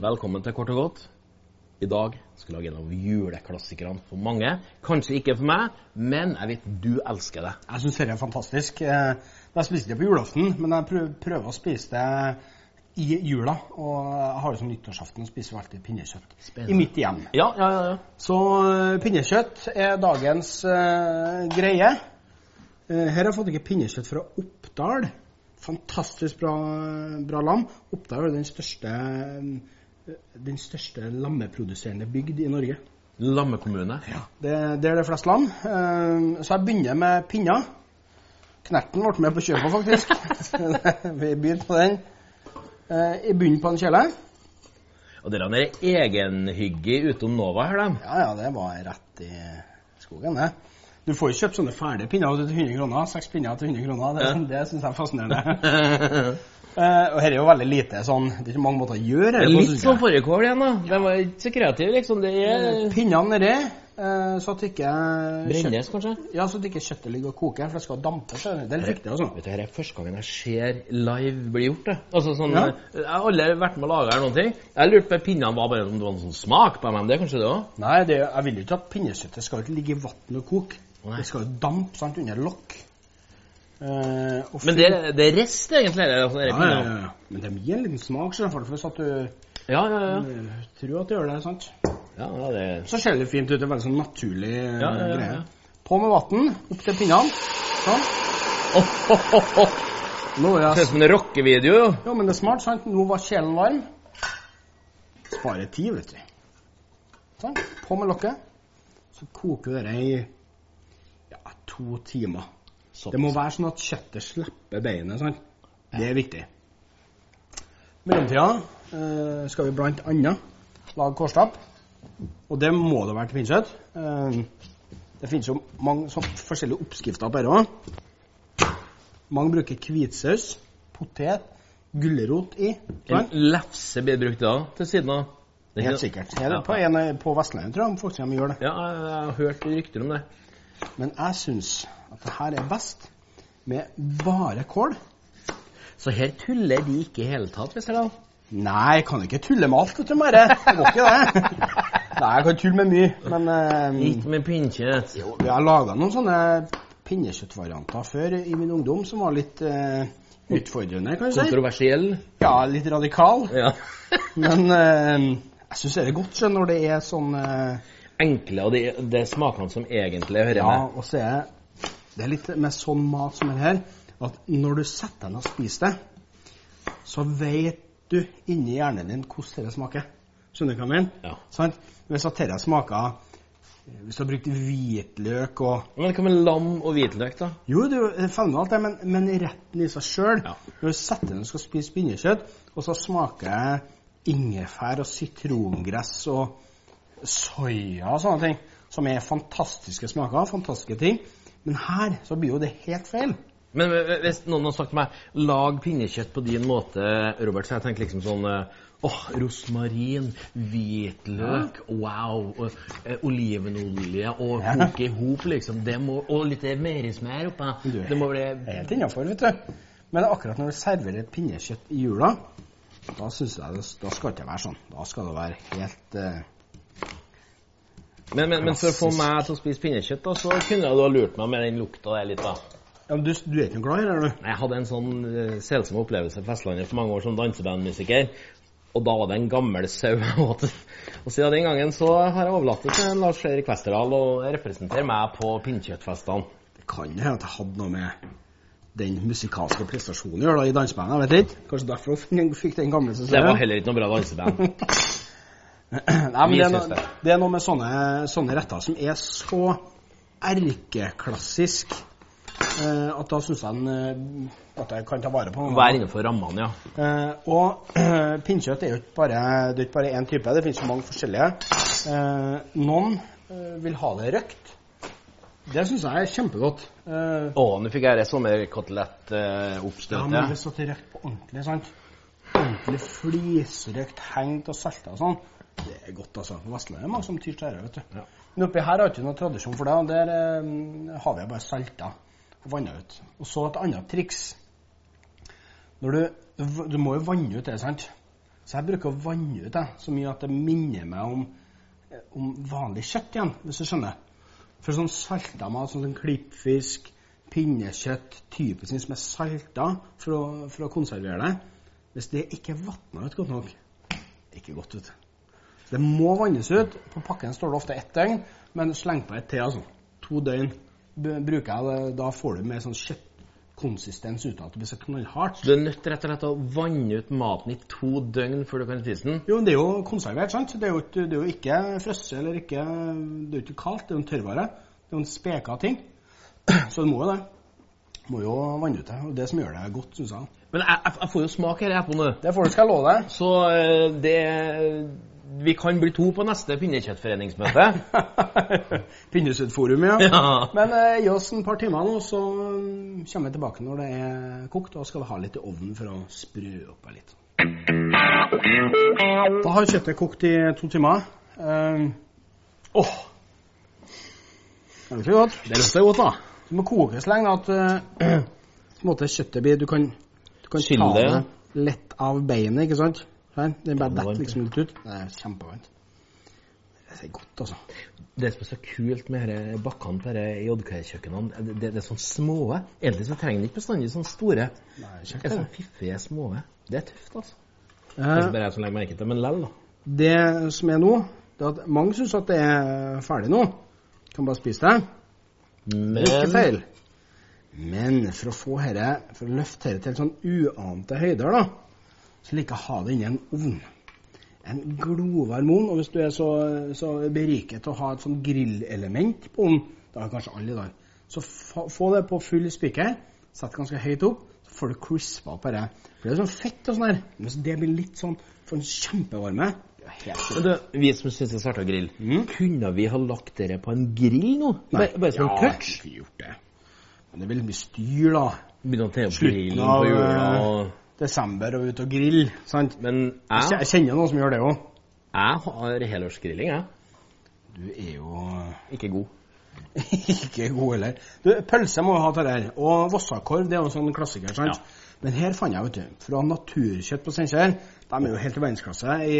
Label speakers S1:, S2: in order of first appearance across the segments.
S1: Velkommen til Kort og godt. I dag skal vi lage en av juleklassikerne for mange. Kanskje ikke for meg, men jeg vet du elsker det.
S2: Jeg syns dette er fantastisk. Eh, Jeg spiste det på julaften, men jeg prø- prøver å spise det i jula. Og jeg har jo som nyttårsaften og spiser jo alltid pinnekjøtt
S1: Spennende.
S2: i mitt hjem.
S1: Ja, ja, ja. ja.
S2: Så eh, pinnekjøtt er dagens eh, greie. Eh, her har jeg fått ikke pinnekjøtt fra Oppdal. Fantastisk bra, bra lam. Oppdal er den største, eh, den største lammeproduserende bygd i Norge.
S1: Lammekommune. Ja.
S2: Det, det er det flest lam. Eh, så jeg begynner med pinna. Knerten ble med på kjøpet, faktisk. Vi begynte på den. Eh, I bunnen på en kjele.
S1: Og dere er egenhyggig utom Nova her, dem.
S2: Ja, ja, det var rett i skogen, det. Du får jo kjøpt sånne ferdige pinner til 100 kroner. Seks pinner til 100 kroner. Det,
S1: Ja.
S2: det syns jeg er fascinerende. Eh, og her er jo veldig lite sånn Det er ikke mange måter å
S1: Det
S2: gjøre det
S1: er
S2: på,
S1: litt sånn
S2: synes jeg.
S1: som forrige kål igjen, da. Den var ikke så kreativ, liksom. Det er
S2: Pinnene nedi, eh, så at ikke kjøtt,
S1: Brennes, kanskje?
S2: ja, så at ikke kjøttet ligger og koker, for det skal dampe. så Det er litt viktig. altså.
S1: Vet du, her er første gangen jeg ser live bli gjort, det. Altså sånn,
S2: Ja.
S1: Jeg har aldri vært med å lage her noen ting. Jeg lurte på om pinnene var bare om det var noen sånn smak på dem. Det er kanskje det òg?
S2: Nei, det, jeg vil jo ikke at pinnekjøttet skal jo ikke ligge i vann og koke.
S1: Nei.
S2: Det skal jo dampe sant, under lokk. Eh, og
S1: Men det, det er rest, egentlig. Eller, altså,
S2: ja,
S1: dere
S2: ja,
S1: pinnene.
S2: ja. Men de gir en liten smak, så derfor hvis at du
S1: ja, ja, ja.
S2: eh, tror at du gjør det. sant?
S1: ja, ja det
S2: Så ser det fint ut. Det er veldig sånn naturlig eh,
S1: Ja, ja, ja,
S2: greie.
S1: ja.
S2: På med vann, opp til pinnene. Sånn.
S1: oh, oh, oh, oh.
S2: Nå er
S1: Ser
S2: jeg
S1: ut som en rockevideo. jo.
S2: Jo, men det er smart, sant? Nå var kjelen varm. Sparer tid, vet du. Sånn. På med lokket. Så koker dette i ja, to timer.
S1: Såpass.
S2: Det må være sånn at kjøttet slipper beinet. Sånn. Det er viktig. I mellomtida eh, skal vi blant annet lage kårstapp. Og det må det være til pinnekjøtt. Eh, det finnes jo mange sånn, forskjellige oppskrifter på dette òg. Mange bruker hvitsaus, potet, gulrot i.
S1: En
S2: sant?
S1: lefse blir brukt da, til siden av. Det er
S2: Helt
S1: ikke-
S2: sikkert. Her på, en, på Vestlandet tror jeg folk sier de gjør det.
S1: Ja, jeg, jeg har hørt rykter om det.
S2: Men jeg syns at det her er best med bare kål.
S1: Så her tuller de ikke i hele tatt, hvis jeg da.
S2: Nei, jeg kan ikke tulle med alt, vet du, Mare. Jeg må ikke det. Nei, jeg kan tulle med mye, men eh,
S1: Ikke med pinnekjøtt.
S2: jo, Jeg har laga noen sånne pinnekjøttvarianter før i min ungdom som var litt eh, utfordrende, kan du si.
S1: Kontroversiell.
S2: Ja, litt radikal.
S1: Ja.
S2: Men eh, jeg syns det er godt skjønn, når det er sånn eh,
S1: Enkle, og det, det er smakene som egentlig hører
S2: Ja,
S1: med.
S2: og så er det- det er litt med sånn mat som er her, at når du setter deg ned og spiser det, så vet du inni hjernen din hvordan det smaker. Skjønner du hva jeg mener?
S1: Ja.
S2: Sant? Hvis at dette smaker eh, Hvis du har brukt hvitløk og
S1: Men hva med lam og hvitløk, da?
S2: Jo, det er jo fenomenalt, det, men, men retten i seg sjøl
S1: Ja.
S2: Når du setter deg ned og skal spise pinnekjøtt, og så smaker det ingefær og sitrongress og soya og sånne ting, som er fantastiske smaker, fantastiske ting Men her så blir jo det helt feil.
S1: Men eh, hvis noen har sagt til meg lag pinnekjøtt på din måte, Robert, så jeg tenker liksom sånn eh, Åh, rosmarin, hvitløk, wow. Og, eh, olivenolje og
S2: Ja.
S1: koke i hop, liksom. Det må, og litt merismær oppå.
S2: Du er-
S1: Det må bli
S2: Det er helt innafor, vet du. Men akkurat når du serverer pinnekjøtt i jula, da synes jeg det, da skal det ikke være sånn. Da skal det være helt eh,
S1: Men, men, men for å få
S2: Klassisk.
S1: meg til å spise pinnekjøtt, da, så kunne du ha lurt meg med den lukta der litt, da.
S2: Ja, men du, du er ikke noe glad i det, er du?
S1: Jeg hadde en sånn eh, selsom opplevelse på Vestlandet for mange år som dansebandmusiker. Og da var det en gammel sau jeg åt. Og siden den gangen så har jeg overlatt det til Lars Erik Westerdal å representere meg på pinnekjøttfestene.
S2: Det kan jo hende at jeg hadde noe med den musikalske prestasjonen å gjøre da, i dansebandet. Jeg vet ikke. Kanskje derfor hun fikk den gamle som
S1: Det var heller ikke noe bra danseband.
S2: Nei, men det er,
S1: Vi syns
S2: noe,
S1: det.
S2: det er noe med sånne, sånne retter som er så erkeklassisk eh, at da syns jeg en, eh, at jeg kan ta vare på den.
S1: Vær innenfor rammene, ja.
S2: Eh, og pinnkjøtt er jo ikke bare, det er ikke bare én type, det finnes jo mange forskjellige. Eh, noen eh, vil ha det røkt. Det syns jeg er kjempegodt. Eh,
S1: Å, nå fikk jeg det eh, sommerkotelettoppstøtet.
S2: ja, men hvis at det røkt på ordentlig, sant? Ordentlig flisrøkt, hengt og salta og sånn. Det er godt, altså. På Vestlandet er det mange som tyr til dette, vet du.
S1: Ja.
S2: Men oppi her har vi ikke noen tradisjon for det. og Der eh, har vi bare salta og vanna ut. Og så et annet triks. Når du, du må jo vanne ut det, sant? Så jeg bruker å vanne ut det så mye at det minner meg om, eh, om vanlig kjøtt igjen, hvis du skjønner. For sånn salta mat, sånn som klippfisk, pinnekjøtt, typisk ting som er salta for å, for å konservere det, hvis det ikke er vatna ut godt nok, ikke godt ut. Så det må vannes ut. På pakken står det ofte ett døgn, men sleng på et til, altså. To døgn b- bruker jeg det. Da får du mer sånn kjøttkonsistens ut av at det blir så knallhardt.
S1: Du er nødt rett og slett å vanne ut maten i to døgn før du kan spise den.
S2: Jo, men det er jo konservert, sant? Det er jo, ikke- det er jo ikke frosset eller ikke Det er jo ikke kaldt, det er jo en tørrvare. Det er jo en speka ting. Så det må jo det. Må jo vanne ut det. Og det som gjør det godt, syns jeg.
S1: Men jeg, jeg, jeg får jo smak her i eplet nå.
S2: Det får du skal jeg love deg.
S1: Så eh, det Vi kan bli to på neste pinnekjøttforeningsmøte.
S2: Pinnesudforum, ja.
S1: Ja.
S2: Men eh, gi oss et par timer nå, så mm, kommer vi tilbake når det er kokt. Da skal vi ha litt i ovnen for å sprø opp her litt. Da har kjøttet kokt i to timer. Eh, Åh! det lukter godt.
S1: Det lukter godt, da.
S2: Det må kokes lenge, da. At eh, på en måte kjøttet blir Du kan, du kan ta
S1: Skille det.
S2: det lett av beinet, ikke sant? Her, det bare
S1: Kjempevarmt.
S2: detter liksom litt ut. Det er kjempevarmt. Det er godt, altså.
S1: Det som er så kult med disse bakkene på disse JK-kjøkkenene, det, det, det er sånn små Egentlig så trenger det ikke bestandig sånne store.
S2: Det
S1: Det
S2: er
S1: er
S2: kjekt,
S1: sånn fiffige små. Det er tøft, altså.
S2: det.
S1: Det
S2: Eh,
S1: er bare jeg som legger merke til det, men lell, da.
S2: Det som er nå, det er at mange syns at det er ferdig nå. Kan bare spise det.
S1: Men
S2: Ikke feil. Men for å få herre, for å løfte dette til sånn uante høyder, da, så liker jeg å ha det inni en ovn. En glovarm ovn. Og hvis du er så, så beriket til å ha et sånn grillelement på ovnen, det har kanskje alle i dag, så fa- få det på full spiker. Sett ganske høyt opp, så får du crispa opp herre. For det er sånn fett og sånn her. Men hvis det blir litt sånn Får en kjempevarme. Det er helt
S1: Men du, vi som syns det er artig å grille,
S2: Mm.
S1: kunne vi ha lagt dere på en grill nå? Bare, bare sånn som en
S2: ja,
S1: touch?
S2: jeg kunne gjort det. Men det blir mye styr, da.
S1: Begynne å te opp
S2: Slutten
S1: grillen
S2: av,
S1: på jula
S2: eh,
S1: og
S2: Desember og ut og grille. Sant?
S1: Men
S2: Jeg
S1: jeg,
S2: kje- jeg kjenner noen som gjør det òg.
S1: jeg har helårsgrilling, jeg.
S2: Du er jo
S1: Ikke god.
S2: ikke god heller. Du, pølse må jo ha til det her. Og vossakorv det er jo en sånn klassiker. sant?
S1: Ja.
S2: Men her fant jeg, vet du, fra Naturkjøtt på Steinkjer De er jo helt i verdensklasse i,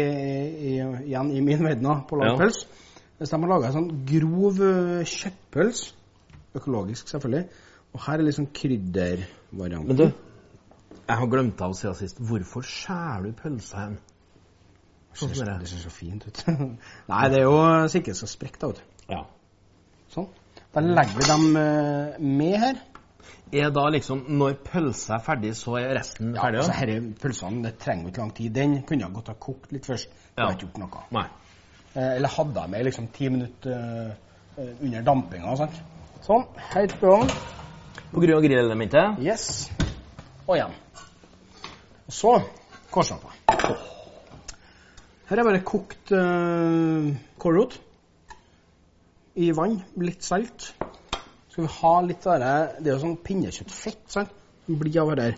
S2: i, igjen i min verden da, på å lage
S1: Ja.
S2: pølse. Hvis de har laga en sånn grov ø, kjøttpølse, økologisk selvfølgelig, og her er litt sånn kryddervarianten
S1: Men du, jeg har glemt av siden sist. Hvorfor skjærer du pølsa hen? Sånn som
S2: Det ser,
S1: det.
S2: det ser så fint ut. Nei, det er jo så ikke så sprekt, da. vet du.
S1: Ja.
S2: Sånn. Da legger vi dem eh, med her.
S1: Er da liksom Når pølsa er ferdig, så er resten ferdig?
S2: altså,
S1: da?
S2: herre, pølsene det trenger jo ikke lang tid. Den kunne jeg godt ha kokt litt først.
S1: Ja.
S2: Ja. Ikke gjort noe.
S1: Nei.
S2: Eh, eller hadde jeg med liksom ti minutter eh, eh, under dampinga. Sant? Sånn. Helt på gang.
S1: På grunn av grillelementet?
S2: Yes. Og igjen. Og så kålsnapper. Her er bare kokt eh, kålrot i vann, litt salt. Skal vi ha litt av det Det er jo sånn pinnekjøttfett, sant? Som blir av det der.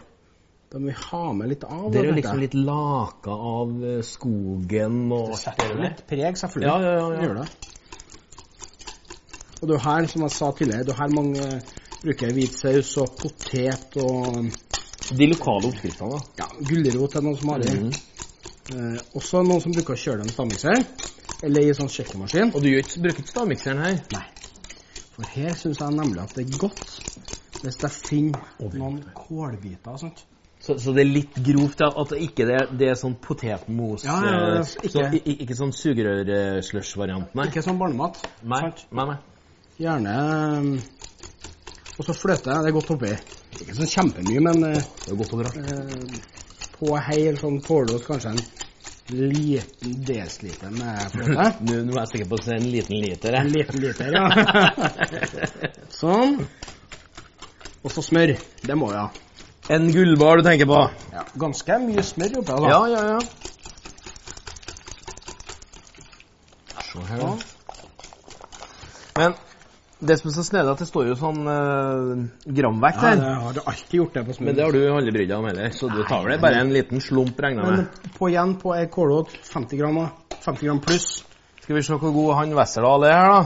S2: Da må vi ha med litt av.
S1: Det er jo
S2: da,
S1: liksom
S2: tenker jeg.
S1: litt laka av eh, skogen og
S2: Det setter
S1: der.
S2: litt preg,
S1: Ja,
S2: selvfølgelig.
S1: ja, ja, ja.
S2: Det gjør det. Og det er jo her, som jeg sa tidligere, det er her mange bruker hvit saus og potet og
S1: De lokale oppskriftene, da.
S2: ja, gulrot er noen som har det.
S1: Mm.
S2: Eh, også noen som bruker å kjøre dem i stavmikser, eller i sånn kjøkkenmaskin.
S1: Og du gjør ikke, bruker ikke stavmikseren her?
S2: Nei. For her syns jeg nemlig at det er godt hvis jeg finner noen kålbiter og sånt.
S1: Så, så det er litt grovt da, at det ikke det, det er sånn potetmos
S2: Ja, ja, ja,
S1: eh,
S2: ikke-
S1: sånn- i- ikke sånn sugerør-slush-variant, nei.
S2: Ikke sånn barnemat.
S1: Nei,
S2: sant?
S1: nei, nei.
S2: Gjerne eh, Og så fløte. Det er godt oppi. Ikke sånn kjempemye, men eh,
S1: Det er jo godt overalt.
S2: eh, på hel sånn kålrot kanskje en liten desiliter med fløte.
S1: Nå, nå er jeg sikker på å se en liten liter,
S2: En
S1: jeg.
S2: liten liter, ja. sånn. Og så smør. Det må vi ha.
S1: En gullbar du tenker på?
S2: Ja, ganske mye smør oppi her, da.
S1: Ja, ja, ja. Se her, da. Men Det som er så snedig, er at det står jo sånn eh, gramvekt
S2: Ja,
S1: der.
S2: jeg har alltid gjort det på smoothie.
S1: Men det har du aldri brydd deg om heller, så du tar vel bare en liten slump, regner jeg
S2: Men
S1: med.
S2: på igjen på ei kålåt, 50 gram, da. 50 gram pluss.
S1: Skal vi se hvor god han Westerdal er her, da.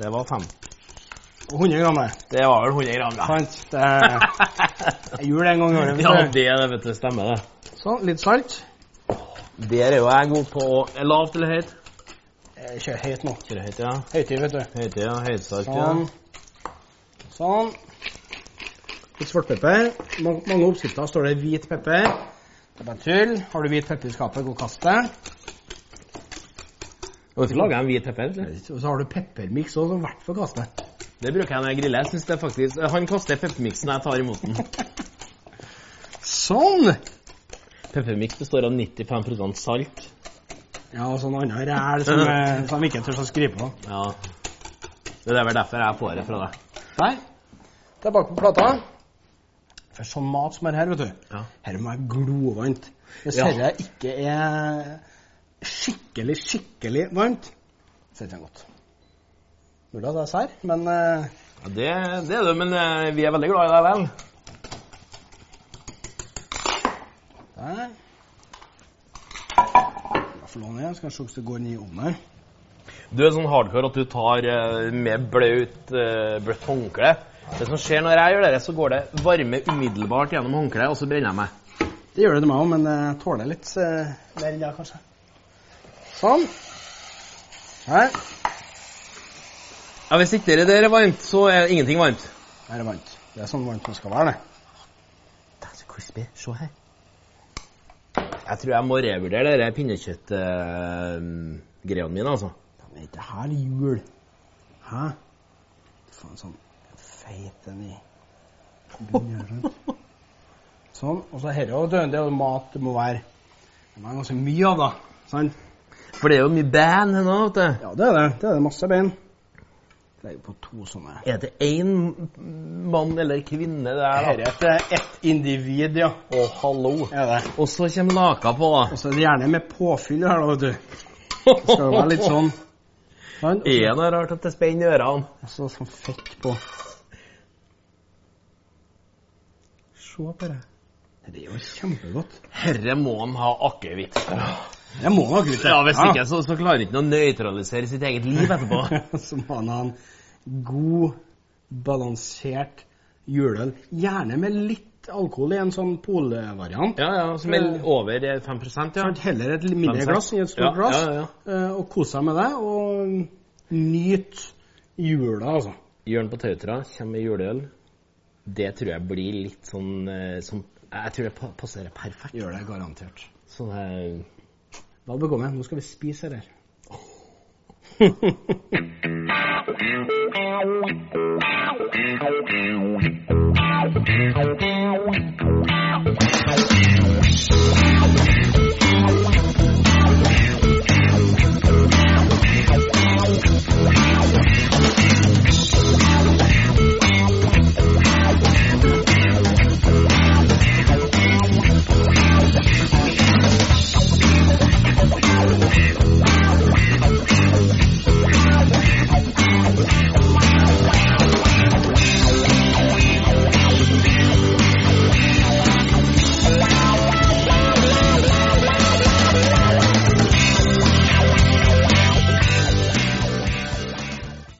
S1: Det var fem.
S2: Og 100 gram, er.
S1: Det var vel 100 gram, da.
S2: Sant? Det er jeg gjør det en gang i året.
S1: Ja,
S2: vet du.
S1: det er det, vet du. Stemmer det.
S2: Sånn, litt salt.
S1: Der er jo jeg god på å- er lavt eller høyt.
S2: Jeg kjører Eh, høyt nå.
S1: Kjører høyt, ja.
S2: Høyt i, vet du.
S1: Høyt, ja. Høytsalt, ja.
S2: Sånn. Sånn. Litt svartpepper. Mange, mange oppskrifter står det hvit pepper. Det er bare tull. Har du hvit pepper i skapet, gå og kast det.
S1: Og så lager jeg en hvit pepper. vet du.
S2: Og så har du peppermiks òg, som i hvert fall kast det.
S1: Det bruker jeg når jeg griller. Jeg synes det er faktisk... Han kaster peppermiksen, jeg tar imot den.
S2: Sånn!
S1: Peppermiks består av 95 salt.
S2: Ja, og sånn annen ræl som, eh, som ikke tør å skrive på.
S1: Ja. Det er vel derfor jeg får det fra deg.
S2: Nei. Det er bak på plata. For sånn mat som er her, vet du
S1: Ja.
S2: Her må være glovarmt. Hvis
S1: Ja.
S2: dette ikke er skikkelig, skikkelig varmt, så er det ikke godt. Mulig at jeg er sær, men eh,
S1: Ja, det, det er det, men eh, vi er veldig glad i deg vel.
S2: der. Flå ned, skal jeg se hvordan det går ned i ovnen her.
S1: Du er sånn hardcore at du tar eh, med bløt, eh, bløtt håndkle. Det som skjer når jeg gjør det, så går det varme umiddelbart gjennom håndkleet, og så brenner jeg meg.
S2: Det gjør det til meg òg, men jeg tåler litt eh, mer enn det, kanskje. Sånn. Her.
S1: Ja, Hvis ikke det der er varmt, så er ingenting varmt.
S2: Her er varmt. Det er sånn varmt det skal være, det.
S1: Det er så crispy. Se her. Jeg tror jeg må revurdere de pinnekjøttgreiene eh, mine, altså.
S2: Men er ikke her jul? Hæ? Faen, sånn feit den i bunnen her, sant? Sånn. Og så herre og døende, og mat det må være Det må være ganske mye av, da. Sant?
S1: For det er jo mye band her nå, vet du.
S2: Ja, det er det. Det er det masse bein. Legger på to sånne.
S1: Er det én mann eller kvinne der, da?
S2: Herre er ett individ, ja.
S1: Å, hallo.
S2: Er det.
S1: Og så kommer laka på, da.
S2: Og så er det gjerne med påfyll her, da, vet du. Det skal jo være litt sånn. Sant? Og så-
S1: Er det rart at det spenner ørene?
S2: Og så sånn fett på. Se på det. Det er jo kjempegodt.
S1: Herre må han ha akevitt.
S2: Jeg må nok ut det.
S1: Ja, hvis ikke så, så klarer han ikke å nøytralisere sitt eget liv etterpå.
S2: så må han ha en god, balansert juleøl. Gjerne med litt alkohol i en sånn polvariant.
S1: Ja, ja, som er over eh, 5 ja.
S2: Sant, Heller et mindre
S1: Fem,
S2: glass
S1: seks.
S2: enn et stort
S1: Ja,
S2: glass,
S1: ja, ja.
S2: eh, og kose seg med det. Og nyt jula, altså.
S1: Jørn på Tautra kommer med juleøl. Det tror jeg blir litt sånn eh, som Jeg tror det pa- passerer perfekt.
S2: Gjør det garantert.
S1: Sånn eh,
S2: Vel bekomme. Nå skal vi spise her.